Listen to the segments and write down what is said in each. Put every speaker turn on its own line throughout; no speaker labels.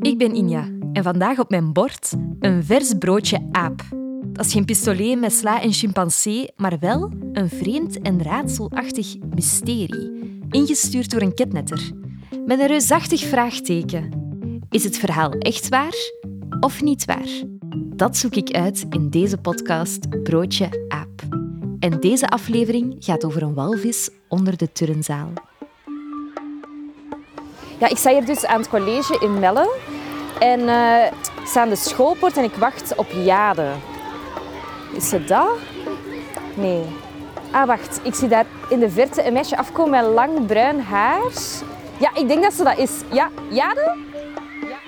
Ik ben Inja en vandaag op mijn bord een vers broodje aap. Dat is geen pistolet met sla en chimpansee, maar wel een vreemd en raadselachtig mysterie, ingestuurd door een ketnetter. Met een reusachtig vraagteken. Is het verhaal echt waar of niet waar? Dat zoek ik uit in deze podcast Broodje Aap. En deze aflevering gaat over een walvis onder de Turrenzaal.
Ja, ik sta hier dus aan het college in Melle. En eh, ik sta aan de schoolpoort en ik wacht op Jade. Is ze dat? Nee. Ah, wacht. Ik zie daar in de verte een meisje afkomen met lang bruin haar. Ja, ik denk dat ze dat is. Ja, Jade?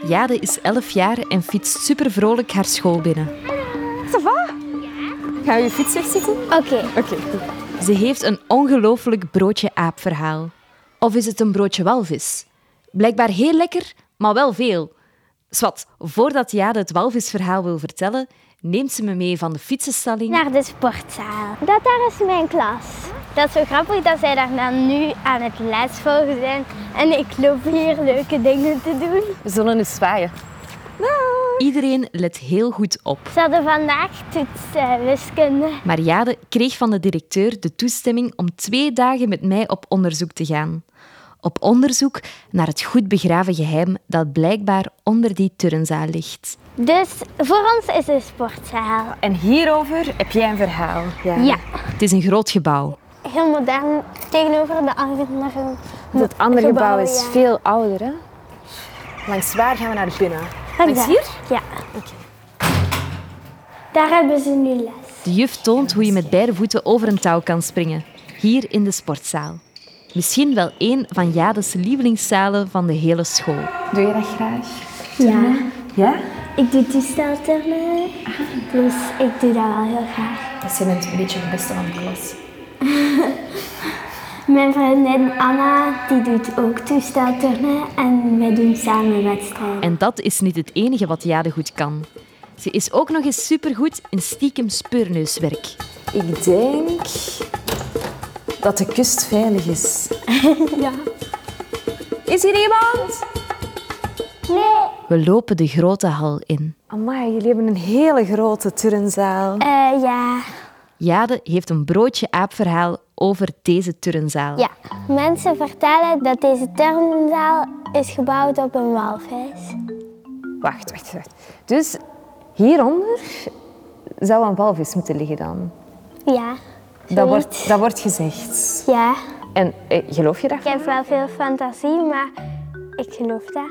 Jade is 11 jaar en fietst super vrolijk haar school binnen.
Ça va? Gaan we je fiets wegzetten?
Oké.
Oké, goed.
Ze heeft een ongelooflijk broodje aapverhaal. Of is het een broodje walvis? Blijkbaar heel lekker, maar wel veel. Swat, voordat Jade het walvisverhaal wil vertellen, neemt ze me mee van de fietsenstalling.
Naar de sportzaal. Dat daar is mijn klas. Dat is zo grappig dat zij daar dan nu aan het lesvolgen zijn. En ik loop hier leuke dingen te doen.
We zullen nu zwaaien.
Iedereen let heel goed op.
Ze hadden vandaag toetsen, wiskunde.
Maar Jade kreeg van de directeur de toestemming om twee dagen met mij op onderzoek te gaan. Op onderzoek naar het goed begraven geheim dat blijkbaar onder die turnzaal ligt.
Dus voor ons is de sportzaal.
En hierover heb jij een verhaal.
Ja.
Het is een groot gebouw.
Heel modern tegenover de andere.
Dat andere gebouw is
ja.
veel ouder, hè? Langs waar gaan we naar binnen?
Langs
Langs
daar.
hier?
Ja. Daar hebben ze nu les.
De juf toont hoe je met beide voeten over een touw kan springen, hier in de sportzaal. Misschien wel één van Jade's lievelingszalen van de hele school.
Doe je dat graag?
Ja.
Ja?
Ik doe toestelturnen. Dus ik doe dat wel heel graag.
Dus je bent een beetje de beste van de klas.
Mijn vriendin Anna die doet ook toestelturnen en wij doen samen wedstrijden.
En dat is niet het enige wat Jade goed kan. Ze is ook nog eens supergoed in stiekem speurneuswerk.
Ik denk dat de kust veilig is.
Ja.
Is hier iemand?
Nee.
We lopen de grote hal in.
Amai, jullie hebben een hele grote turnzaal.
Eh ja.
Jade heeft een broodje aapverhaal over deze turnzaal.
ja. Mensen vertellen dat deze turnzaal is gebouwd op een walvis.
Wacht, wacht, wacht. Dus hieronder zou een walvis moeten liggen dan.
Ja.
Dat
zoiets.
wordt, dat wordt gezegd.
Ja.
En eh, geloof je dat?
Ik heb wel veel fantasie, maar ik geloof dat.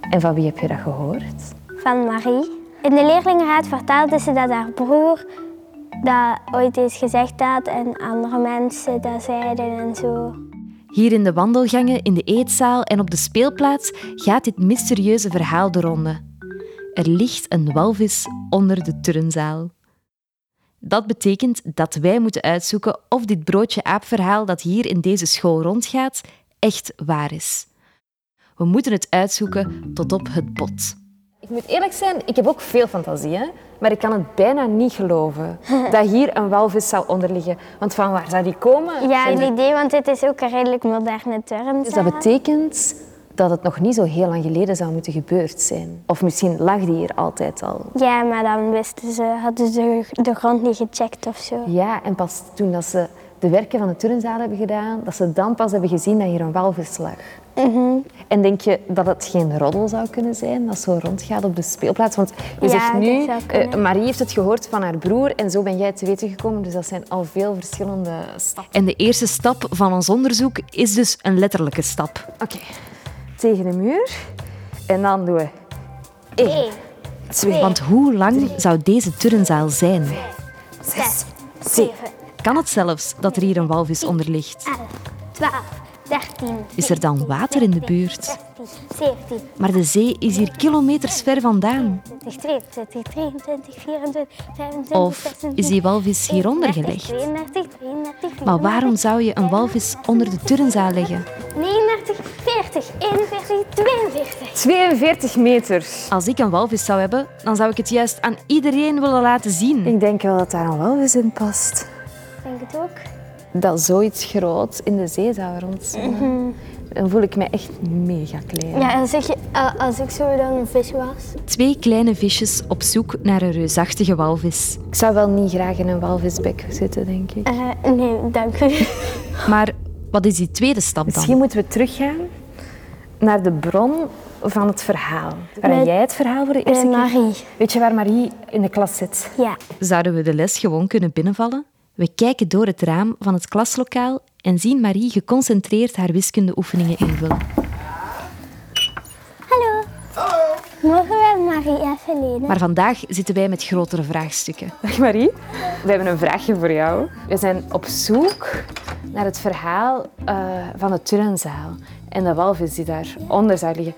En van wie heb je dat gehoord?
Van Marie. In de leerlingenraad vertelde ze dat haar broer dat ooit eens gezegd had en andere mensen dat zeiden en zo.
Hier in de wandelgangen, in de eetzaal en op de speelplaats gaat dit mysterieuze verhaal de ronde. Er ligt een walvis onder de turnzaal. Dat betekent dat wij moeten uitzoeken of dit broodje aapverhaal dat hier in deze school rondgaat echt waar is. We moeten het uitzoeken tot op het bot.
Ik moet eerlijk zijn, ik heb ook veel fantasie, hè? maar ik kan het bijna niet geloven dat hier een walvis zou onderliggen. Want van waar zou die komen?
Ja,
Geen
het idee, want dit is ook een redelijk moderne term.
Dus dat betekent dat het nog niet zo heel lang geleden zou moeten gebeurd zijn. Of misschien lag die hier altijd al.
Ja, maar dan wisten ze, hadden ze de grond niet gecheckt of zo.
Ja, en pas toen dat ze de werken van de turnzaal hebben gedaan, dat ze dan pas hebben gezien dat hier een walvis lag.
Mhm.
En denk je dat het geen roddel zou kunnen zijn, dat zo rondgaat op de speelplaats? Want je
Ja,
zegt
dat
nu,
zou
eh,
kunnen.
Marie heeft het gehoord van haar broer en zo ben jij te weten gekomen. Dus dat zijn al veel verschillende stappen.
En de eerste stap van ons onderzoek is dus een letterlijke stap.
Oké, tegen de muur. En dan doen we
Eén,
twee,
Want hoe lang zou deze turnzaal zijn?
zes, zeven.
zeven,
Kan het zelfs dat er hier een walvis onder ligt?
elf, twaalf, dertien.
Is er dan water in de buurt?
16, 17,
Maar de zee is hier kilometers ver vandaan.
20, 22, 23, 24, 25,
Of
26,
is die walvis hieronder
31,
gelegd?
32, 33,
Maar waarom zou je een walvis onder de turnzaal leggen?
39, 40, 41, 42.
42 meter.
Als ik een walvis zou hebben, dan zou ik het juist aan iedereen willen laten zien.
Ik denk wel dat daar een walvis in past.
Ik denk het ook.
Dat zoiets groots in de zee zou rondzwemmen. Dan voel ik me echt mega klein.
Ja, en zeg je, eh, als ik zo dan een vis was?
Twee kleine visjes op zoek naar een reusachtige walvis.
Ik zou wel niet graag in een walvisbek zitten, denk ik.
Eh, nee, dank u.
Maar wat is die tweede stap
Misschien
dan?
moeten we teruggaan naar de bron van het verhaal. Waar
Met-
jij het verhaal voor de
Eh,
eerste keer...
Marie.
Weet je waar Marie in de klas zit?
Ja.
Zouden we de les gewoon kunnen binnenvallen? We kijken door het raam van het klaslokaal en zien Marie geconcentreerd haar wiskundeoefeningen invullen.
Hallo. Mogen we Marie even lenen?
Maar vandaag zitten wij met grotere vraagstukken.
Dag Marie. We hebben een vraagje voor jou. We zijn op zoek naar het verhaal eh, van de turnzaal en de walvis die daaronder zou liggen.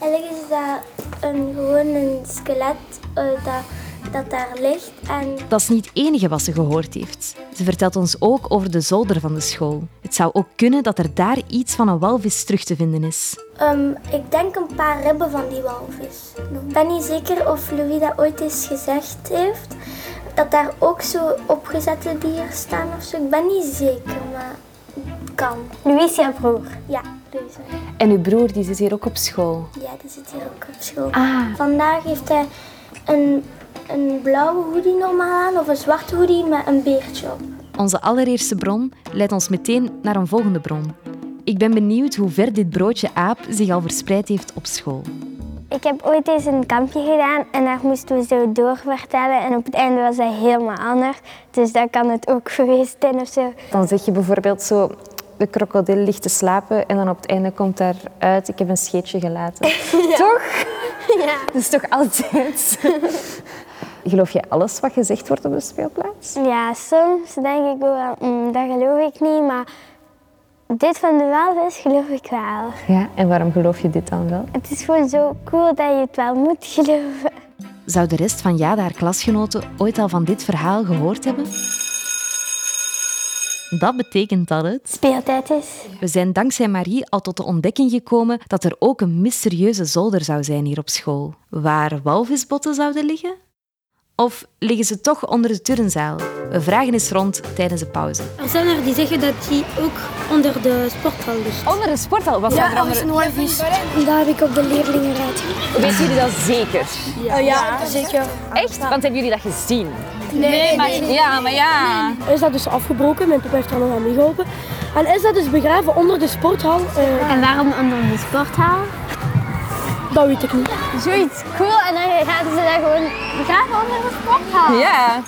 Eigenlijk is dat een, gewoon een skelet eh, dat, dat daar ligt. En
Dat is niet het enige wat ze gehoord heeft. Ze vertelt ons ook over de zolder van de school. Het zou ook kunnen dat er daar iets van een walvis terug te vinden is.
ehm, ik denk een paar ribben van die walvis. Ik ben niet zeker of Louis dat ooit eens gezegd heeft. Dat daar ook zo opgezette dieren staan of zo. Ik ben niet zeker, maar het kan. Louis is jouw broer? Ja, Louis is mijn broer.
En uw broer die zit hier ook op school.
Ja, die zit hier ook op school.
Ah.
Vandaag heeft hij een, een blauwe hoodie normaal aan of een zwarte hoodie met een beertje op.
Onze allereerste bron leidt ons meteen naar een volgende bron. Ik ben benieuwd hoe ver dit broodje aap zich al verspreid heeft op school.
Ik heb ooit eens een kampje gedaan en daar moesten we zo doorvertellen. En op het einde was dat helemaal anders. Dus dat kan het ook geweest zijn of zo.
Dan zeg je bijvoorbeeld zo, de krokodil ligt te slapen en dan op het einde komt daaruit, ik heb een scheetje gelaten. Toch?
Ja.
Dat is toch altijd? Geloof je alles wat gezegd wordt op de speelplaats?
Ja, soms denk ik wel, mm, dat geloof ik niet. Maar dit van de walvis geloof ik wel.
Ja, en waarom geloof je dit dan wel?
Het is gewoon zo cool dat je het wel moet geloven.
Zou de rest van Jade haar klasgenoten ooit al van dit verhaal gehoord hebben? Dat betekent dat het.
Speeltijd is.
We zijn dankzij Marie al tot de ontdekking gekomen dat er ook een mysterieuze zolder zou zijn hier op school. Waar walvisbotten zouden liggen? Of liggen ze toch onder de turnzaal? We vragen eens rond tijdens de pauze.
Er zijn er die zeggen dat die ook onder de sporthal ligt.
Onder de sporthal was dat er onder...
Daar heb ik op de leerlingenraad
Weten jullie dat zeker?
Ja, zeker.
Echt? Want hebben jullie dat gezien?
Is dat dus afgebroken? Mijn papa heeft er nog aan meegeholpen. En is dat dus begraven onder de sporthal? Eh,
En waarom onder de sporthal?
dat weet ik niet.
Zoiets cool en dan gaan ze daar gewoon graven onder de sport halen.
Ja.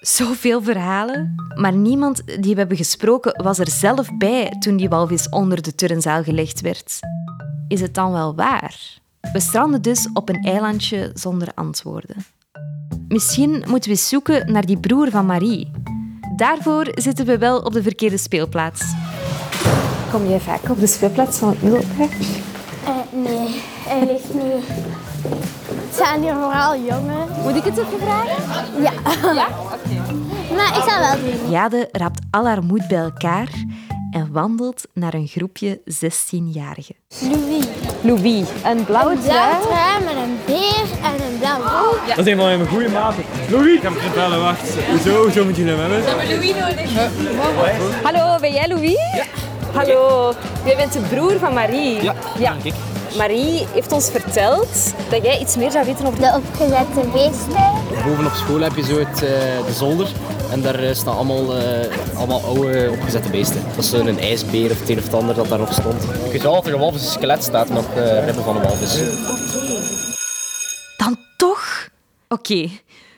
Zoveel verhalen. Maar niemand die we hebben gesproken was er zelf bij toen die walvis onder de turnzaal gelegd werd. Is het dan wel waar? We stranden dus op een eilandje zonder antwoorden. Misschien moeten we eens zoeken naar die broer van Marie. Daarvoor zitten we wel op de verkeerde speelplaats.
Kom jij vaak op de speelplaats van het middelbaar?
Eh, nee, hij ligt niet. Het zijn hier vooral jongen.
Moet ik het even vragen?
Maar ik zou wel doen.
Jade raapt al haar moed bij elkaar en wandelt naar een groepje 16-jarigen.
Louis.
Louis, een blauwe trui.
trui met een beer en een blauw hoed.
Dat is een van mijn goede maten. Louis! Ik ga hem vertellen, wacht. Hoezo? Zo moet je hem hebben.
Hallo, ben jij Louis? Hallo, jij bent de broer van Marie.
Ja,
ja. Marie heeft ons verteld dat jij iets meer zou weten over...
De opgezette beesten.
Bovenop school heb je zo het, eh, de zolder. En daar eh, staan allemaal, eh, allemaal oude opgezette beesten. Dat is zo'n ijsbeer of het een of het ander dat daar nog stond. Ik weet wel dat er een walvis een skelet staat met eh ribben van een walvis.
Dan toch? Oké,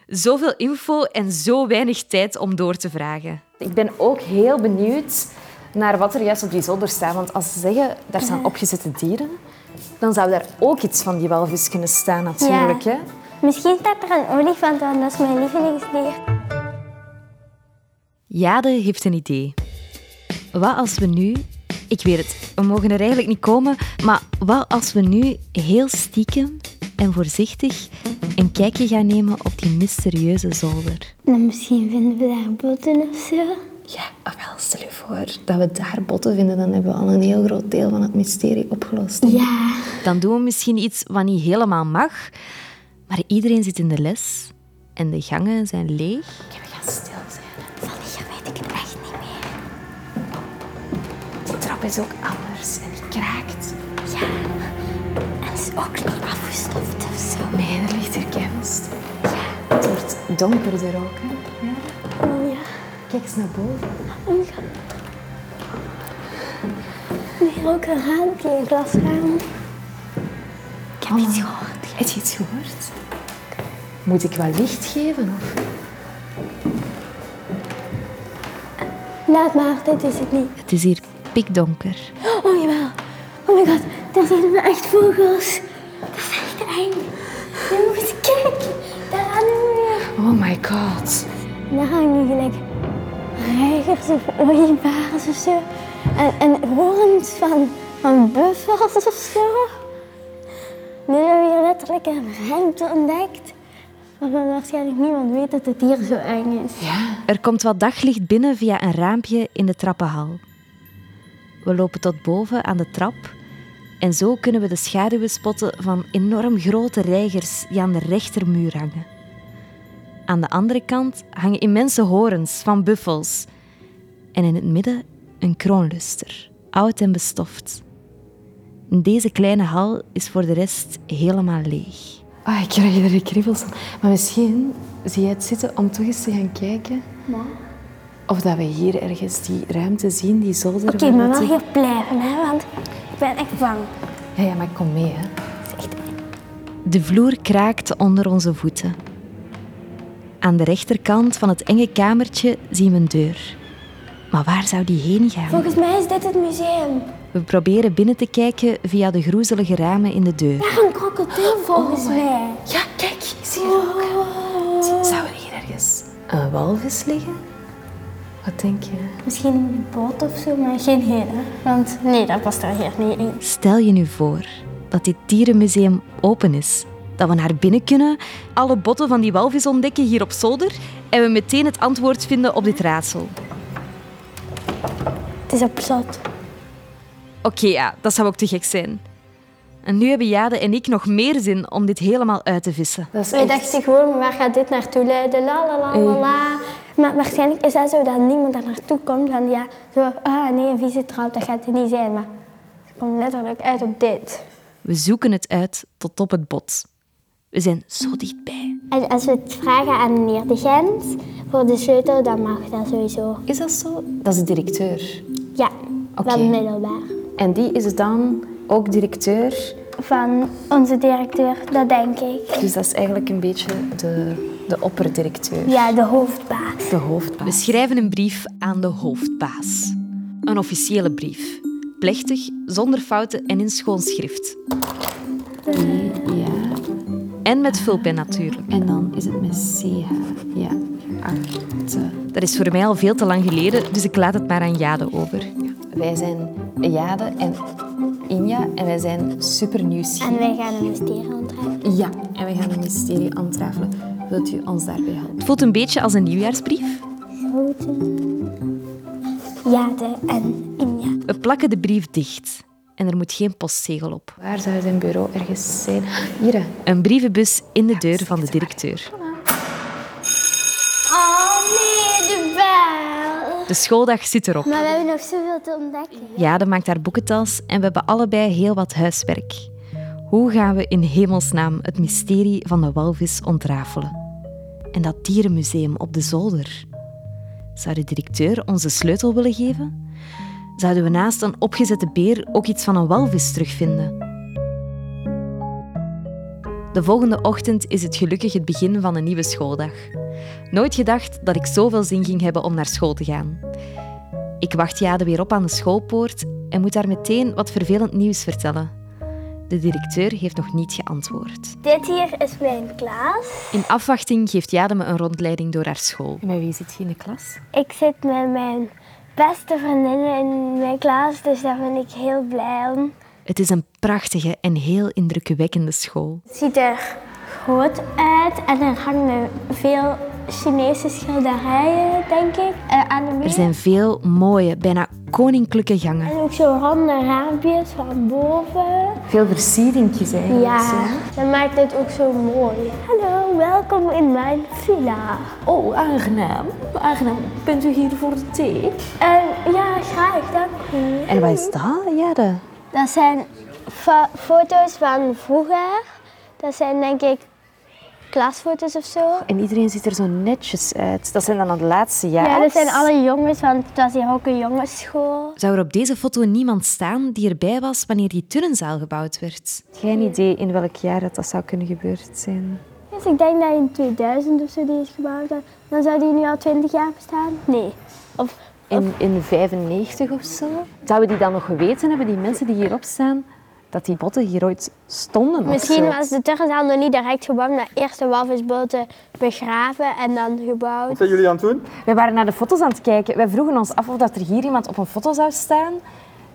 zoveel info en zo weinig tijd om door te vragen.
Ik ben ook heel benieuwd naar wat er juist op die zolder staat. Want als ze zeggen, daar staan opgezette dieren, dan zou daar ook iets van die walvis kunnen staan natuurlijk.
Ja.
Hè?
Misschien staat er een olifant, want dat is mijn lievelingsdier.
Jade heeft een idee. Wat als we nu... Ik weet het, we mogen er eigenlijk niet komen, maar wat als we nu heel stiekem en voorzichtig een kijkje gaan nemen op die mysterieuze zolder?
Dan Nou, misschien vinden we daar botten of zo.
Ja, wel, stel je voor dat we daar botten vinden, dan hebben we al een heel groot deel van het mysterie opgelost.
Ja.
Dan doen we misschien iets wat niet helemaal mag, maar iedereen zit in de les en de gangen zijn leeg.
We gaan stil zijn.
Van die weet ik echt niet meer.
aap is ook anders en die kraakt. Ja, en is ook niet afgestoft of zo. Nee, er ligt er keivast. Ja, het wordt donkerder ook, hè. Ja.
Oh, Ja. Oh,
Kijk eens naar boven.
Hier ook een raampje, een glasraam.
Ik heb iets gehoord. Oh. Heb je iets gehoord? Moet ik wel licht geven? Of?
Laat maar, dit is het niet.
Het is hier pikdonker.
Oh jawel. Oh my god, daar zijn echt vogels. Dat is echt eng. Je moet eens kijken. Daar hangen we.
Oh my god.
Daar hangen gelijk reigers of ooievaars of zo. En, en horens van, van buffels of zo. Nu hebben we hier letterlijk een ruimte ontdekt. Waarvan waarschijnlijk niemand weet dat het hier zo eng is.
Er komt wat daglicht binnen via een raampje in de trappenhal. We lopen tot boven aan de trap en zo kunnen we de schaduwen spotten van enorm grote reigers die aan de rechtermuur hangen. Aan de andere kant hangen immense horens van buffels en in het midden een kroonluster, oud en bestoft. Deze kleine hal is voor de rest helemaal leeg.
Ah, ik krijg er kriebels van. Maar misschien zie jij het zitten om toch eens te gaan kijken. Of dat we hier ergens die ruimte zien, die zolder.
Oké,
waar
maar
dat
wel
die-
hier blijven, hè, want ik ben echt bang.
Ja, ja, maar kom mee, hè.
De vloer kraakt onder onze voeten. Aan de rechterkant van het enge kamertje zien we een deur. Maar waar zou die heen gaan?
Volgens mij is dit het museum.
We proberen binnen te kijken via de groezelige ramen in de deur.
Daar een krokodil volgens mij.
Ja, kijk, ik zie er ook. Zou er hier ergens een walvis liggen? Wat denk je?
Misschien een boot of zo, maar geen hele. Want nee, dat past daar hier niet in.
Stel je nu voor dat dit dierenmuseum open is. Dat we naar binnen kunnen, alle botten van die walvis ontdekken hier op zolder en we meteen het antwoord vinden op dit raadsel.
Het is op slot.
Oké, ja, dat zou ook te gek zijn. En nu hebben Jade en ik nog meer zin om dit helemaal uit te vissen.
Dat is
Wij
echt...
dachten Dus gewoon, waar gaat dit naartoe leiden? La la la la la. Maar waarschijnlijk is dat zo dat niemand daar naartoe komt. Van ja, zo, ah nee, een vieze trap, dat gaat het niet zijn. Maar het komt letterlijk uit op dit.
We zoeken het uit tot op het bot. We zijn zo dichtbij.
En als we het vragen aan meneer de Gent voor de sleutel, dan mag dat sowieso.
Is dat zo? Dat is de directeur.
Ja,
Oké.
wel middelbaar.
En die is dan ook directeur.
Van onze directeur, dat denk ik.
Dus dat is eigenlijk een beetje de, de opperdirecteur.
Ja, de hoofdbaas.
De hoofdbaas.
We schrijven een brief aan de hoofdbaas. Een officiële brief. Plechtig, zonder fouten en in schoon schrift.
Ja.
En met vulpen natuurlijk.
En dan is het met CH. Ja. Akte.
Dat is voor mij al veel te lang geleden, dus ik laat het maar aan Jade over.
Wij zijn Jade en Inja en wij zijn super
En
nieuwsgierig.
wij gaan een mysterie ontrafelen.
Ja, en we gaan een mysterie ontrafelen. Wilt u ons daarbij helpen?
Het voelt een beetje als een nieuwjaarsbrief.
Jade en Inja.
We plakken de brief dicht. En er moet geen postzegel op.
Waar zou zijn bureau ergens zijn? Hier. hè.
Een brievenbus in de deur van de directeur.
Oh nee, de bel.
De schooldag zit erop.
Maar we hebben nog zoveel te ontdekken.
Jade maakt haar boekentals en we hebben allebei heel wat huiswerk. Hoe gaan we in hemelsnaam het mysterie van de walvis ontrafelen? En dat dierenmuseum op de zolder? Zou de directeur onze sleutel willen geven? Zouden we naast een opgezette beer ook iets van een walvis terugvinden? De volgende ochtend is het gelukkig het begin van een nieuwe schooldag. Nooit gedacht dat ik zoveel zin ging hebben om naar school te gaan. Ik wacht Jade weer op aan de schoolpoort en moet haar meteen wat vervelend nieuws vertellen. De directeur heeft nog niet geantwoord.
Dit hier is mijn klas.
In afwachting geeft Jade me een rondleiding door haar school.
En met wie zit je in de klas?
Ik zit met mijn beste vriendinnen in mijn klas, dus daar ben ik heel blij om.
Het is een prachtige en heel indrukwekkende school.
Het ziet er groot uit en er hangen veel Chinese schilderijen, denk ik, eh, aan de muur.
Er zijn veel mooie, bijna koninklijke gangen.
En ook zo ronde raampjes van boven.
Veel versieringjes eigenlijk.
Ja, dat maakt het ook zo mooi. Hallo, welkom in mijn villa.
Oh, aangenaam. Aangenaam. Bent u hier voor de thee?
En Eh, Ja, graag, dank u.
En wat is dat, Jade?
Dat zijn fa- foto's van vroeger. Dat zijn denk ik klasfoto's of zo.
En iedereen ziet er zo netjes uit. Dat zijn dan het laatste jaar.
Ja, dat zijn alle jongens, want het was hier ook een jongensschool.
Zou er op deze foto niemand staan die erbij was wanneer die turnzaal gebouwd werd?
Geen idee in welk jaar dat, dat zou kunnen gebeurd zijn.
Dus ik denk dat in 2000 of zo die is gebouwd. Dan zou die nu al 20 jaar bestaan? Nee. Of
In, in 95 of zo. Zouden die dan nog geweten hebben, die mensen die hierop staan, dat die botten hier ooit stonden?
Misschien
of zo?
was de turnzaal nog niet direct gebouwd, maar eerst de walvisboten begraven en dan gebouwd.
zijn jullie aan het doen?
Wij waren naar de foto's aan het kijken. Wij vroegen ons af of dat er hier iemand op een foto zou staan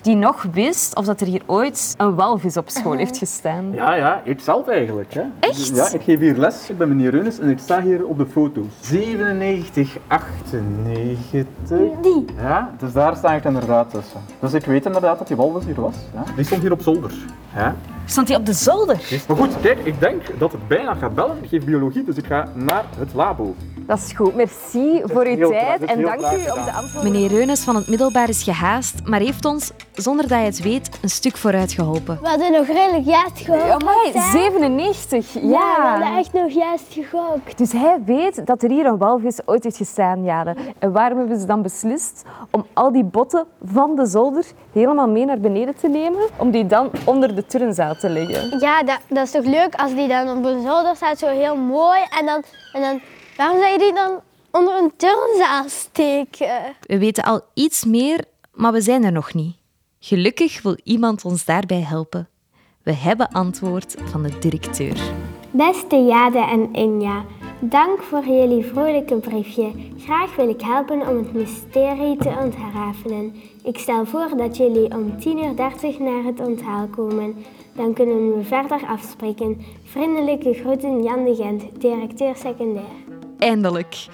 die nog wist of dat er hier ooit een walvis op school heeft gestaan.
Ja, ja, ik zelf eigenlijk. Hè. Echt? Ja, ik geef hier les. Ik ben meneer Reunis en ik sta hier op de foto's. 97, 98.
Die.
Ja, dus daar sta ik inderdaad tussen. Dus ik weet inderdaad dat die walvis hier was. Ja. Die stond hier op zolder. Ja.
Stond hij op de zolder?
Maar goed, kijk, ik denk dat het bijna gaat bellen. Ik geef biologie, dus ik ga naar het labo.
Dat is goed. Merci voor
heel
uw
graag-
tijd
dat is
en
heel
dank
graag
u om
gedaan.
de antwoorden.
Meneer Reunes van het middelbaar is gehaast, maar heeft ons, zonder dat hij het weet, een stuk vooruit geholpen.
We hadden nog redelijk juist gehoord.
Amai, 97, ja.
we hadden echt nog juist gegokt.
Dus hij weet dat er hier een walvis ooit heeft gestaan, Jade. En waarom hebben ze dan beslist om al die botten van de zolder helemaal mee naar beneden te nemen, om die dan onder de turnzaal te leggen?
Ja, dat, dat is toch leuk als die dan op een zolder staat, zo heel mooi. En dan, en dan waarom zou je die dan onder een turnzaal steken?
We weten al iets meer, maar we zijn er nog niet. Gelukkig wil iemand ons daarbij helpen. We hebben antwoord van de directeur.
Beste Jade en Inja, dank voor jullie vrolijke briefje. Graag wil ik helpen om het mysterie te ontrafelen. Ik stel voor dat jullie om 10.30 uur naar het onthaal komen. Dan kunnen we verder afspreken. Vriendelijke groeten Jan de Gent, directeur secundair.
Eindelijk.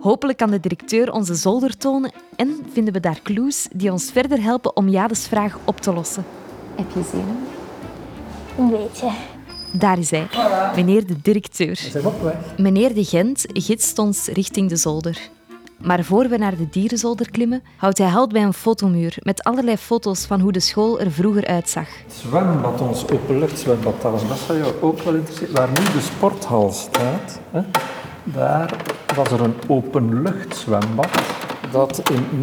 Hopelijk kan de directeur onze zolder tonen en vinden we daar clues die ons verder helpen om Jades vraag op te lossen.
Heb je zin in?
Een beetje.
Daar is hij, meneer de directeur.
Zijn we op weg?
Meneer de Gent gidst ons richting de zolder. Maar voor we naar de dierenzolder klimmen, houdt hij halt bij een fotomuur met allerlei foto's van hoe de school er vroeger uitzag.
Het zwembad, ons openluchtzwembad, dat was best van jou ook wel interessant. Waar nu de sporthal staat, hè, daar was er een openluchtzwembad dat in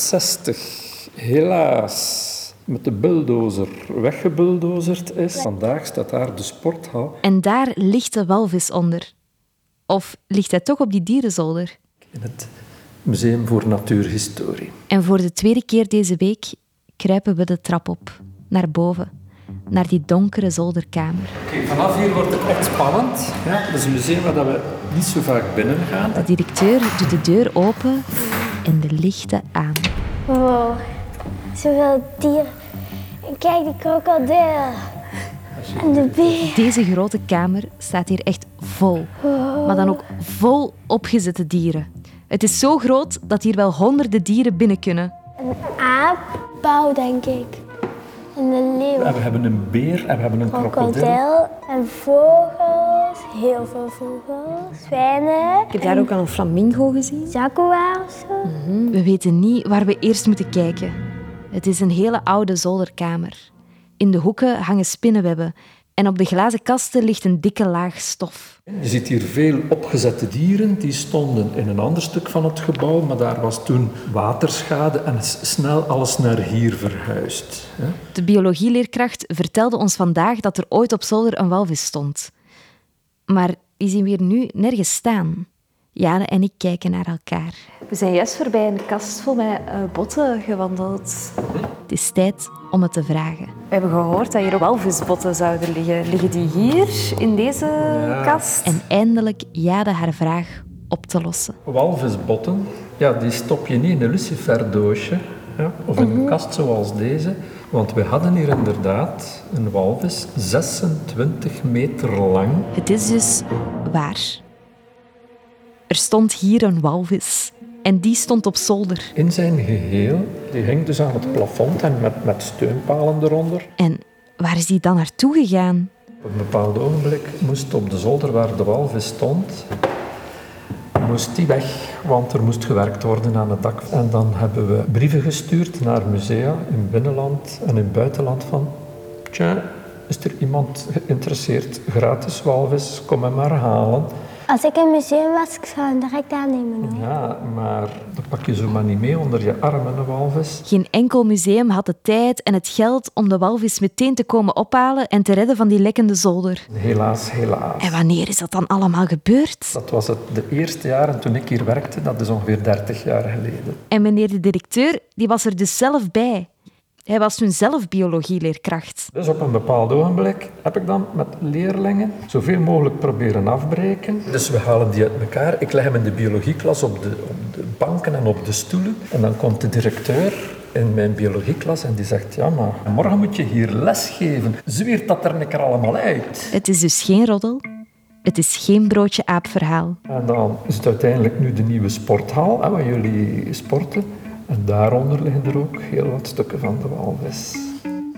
1960 helaas met de bulldozer weggebuldozerd is. Vandaag staat daar de sporthal.
En daar ligt de walvis onder. Of ligt hij toch op die dierenzolder?
in het Museum voor Natuurhistorie.
En voor de tweede keer deze week kruipen we de trap op, naar boven, naar die donkere zolderkamer.
Oké, vanaf hier wordt het echt spannend. Ja, dat is een museum waar dat we niet zo vaak binnen gaan.
De directeur doet de deur open en de lichten aan.
Wow, zoveel dier. En kijk die krokodil. En de beer.
Deze grote kamer staat hier echt vol, maar dan ook vol opgezette dieren. Het is zo groot dat hier wel honderden dieren binnen kunnen.
Aap, pauw denk ik. En een leeuw.
En we hebben een beer en we hebben een krokodil.
Krokodil en vogels, heel veel vogels, zwijnen,
Ik heb daar ook al een flamingo gezien.
jaguar of zo.
We weten niet waar we eerst moeten kijken. Het is een hele oude zolderkamer. In de hoeken hangen spinnenwebben en op de glazen kasten ligt een dikke laag stof.
Je ziet hier veel opgezette dieren. Die stonden in een ander stuk van het gebouw, maar daar was toen waterschade en is snel alles naar hier verhuisd. hè.
De biologieleerkracht vertelde ons vandaag dat er ooit op zolder een walvis stond. Maar die zien we hier nu nergens staan. Jade en ik kijken naar elkaar.
We zijn juist voorbij een kast vol met eh, botten gewandeld.
Het is tijd om het te vragen.
We hebben gehoord dat hier walvisbotten zouden liggen. Liggen die hier in deze kast?
En eindelijk Jade haar vraag op te lossen.
Walvisbotten, ja, die stop je niet in een luciferdoosje ja, of in een kast zoals deze. Want we hadden hier inderdaad een walvis 26 meter lang.
Het is dus waar. Er stond hier een walvis. En die stond op zolder.
In zijn geheel, die hing dus aan het plafond en met, met steunpalen eronder.
En waar is die dan naartoe gegaan?
Op een bepaald ogenblik moest op de zolder waar de walvis stond, moest die weg, want er moest gewerkt worden aan het dak. En dan hebben we brieven gestuurd naar musea in binnenland en in buitenland van... Tja, is er iemand geïnteresseerd? Gratis walvis, kom hem maar halen.
Als ik in het museum was, ik zou hem direct aannemen. hoor.
Ja, maar dat pak je zomaar niet mee onder je armen, een walvis.
Geen enkel museum had de tijd en het geld om de walvis meteen te komen ophalen en te redden van die lekkende zolder.
Helaas, helaas.
En wanneer is dat dan allemaal gebeurd?
Dat was het de eerste jaren toen ik hier werkte, dat is ongeveer 30 jaar geleden.
En meneer de directeur, die was er dus zelf bij. Hij was toen zelf biologieleerkracht.
Dus op een bepaald ogenblik heb ik dan met leerlingen zoveel mogelijk proberen afbreken. Dus we halen die uit elkaar. Ik leg hem in de biologieklas op de, op de banken en op de stoelen. En dan komt de directeur in mijn biologieklas en die zegt... Ja, maar morgen moet je hier les geven. Zweert dat er een keer allemaal uit.
Het is dus geen roddel. Het is geen broodje aapverhaal.
En dan is het uiteindelijk nu de nieuwe sporthal, hè, waar jullie sporten. En daaronder liggen er ook heel wat stukken van de walvis.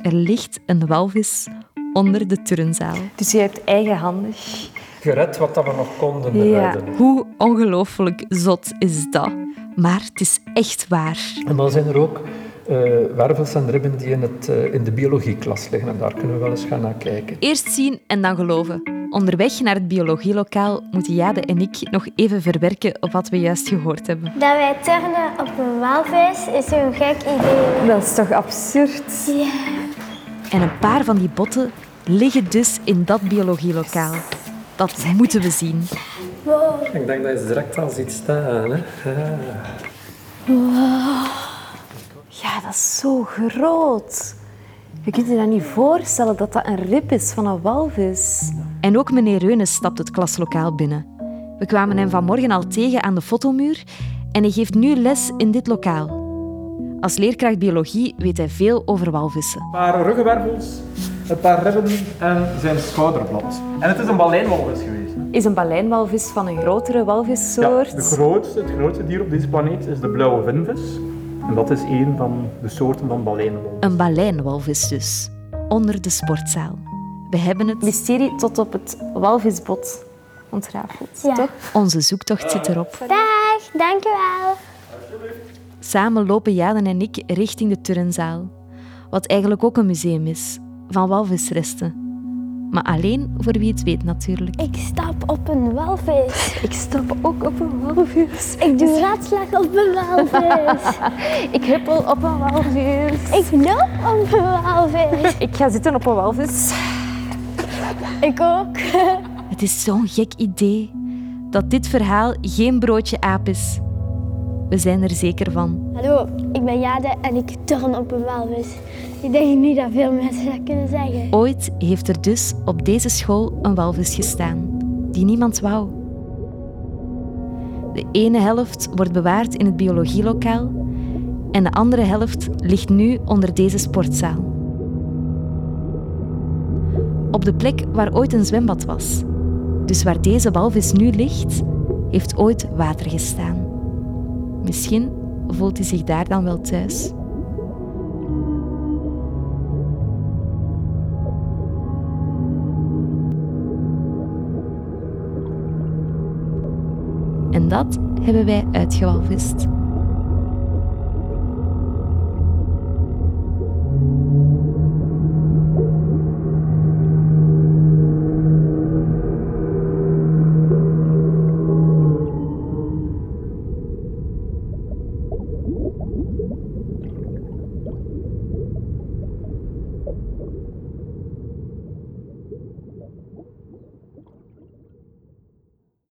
Er ligt een walvis onder de turnzaal.
Dus je hebt eigenhandig.
Gered wat dat we nog konden
Ja,
redden.
hoe ongelooflijk zot is dat? Maar het is echt waar.
En dan zijn er ook eh, wervels en ribben die in, het, eh, in de biologieklas liggen. En daar kunnen we wel eens gaan naar kijken.
Eerst zien en dan geloven. Onderweg naar het biologielokaal moeten Jade en ik nog even verwerken op wat we juist gehoord hebben.
Dat wij turnen op een walvis is een gek idee.
Dat is toch absurd? En een paar van die botten liggen dus in dat biologielokaal. Dat moeten we zien.
Wow.
Ik denk dat je direct al ziet staan. Hè?
Ja, dat is zo groot. Je kunt je dat niet voorstellen dat dat een rib is van een walvis.
En ook meneer Reunes stapt het klaslokaal binnen. We kwamen hem vanmorgen al tegen aan de fotomuur en hij geeft nu les in dit lokaal. Als leerkracht biologie weet hij veel over walvissen.
Een paar ruggenwervels, een paar ribben en zijn schouderblad. En het is een baleinwalvis geweest.
Is een baleinwalvis van een grotere walvissoort?
De grootste, het grootste dier op deze planeet is de blauwe vinvis. En dat is één van de soorten van baleinwalvis.
Een baleinwalvis dus, onder de sportzaal. We hebben het
mysterie tot op het walvisbot ontrafeld, toch?
Onze zoektocht zit erop.
Dag, dankjewel.
Samen lopen Jaden en ik richting de turnzaal. Wat eigenlijk ook een museum is, van walvisresten. Maar alleen voor wie het weet natuurlijk.
Ik stap op een walvis.
Ik stap ook op een walvis.
Ik doe raadslag op een walvis.
Ik huppel op een walvis.
Ik loop op een walvis.
Ik ga zitten op een walvis.
Ik ook.
Het is zo'n gek idee dat dit verhaal geen broodje aap is. We zijn er zeker van.
Hallo, ik ben Jade en ik turn op een walvis. Ik denk niet dat veel mensen dat kunnen zeggen.
Ooit heeft er dus op deze school een walvis gestaan, die niemand wou. De ene helft wordt bewaard in het biologielokaal en de andere helft ligt nu onder deze sportzaal. Op de plek waar ooit een zwembad was, dus waar deze walvis nu ligt, heeft ooit water gestaan. Misschien voelt hij zich daar dan wel thuis. En dat hebben wij uitgewalvist.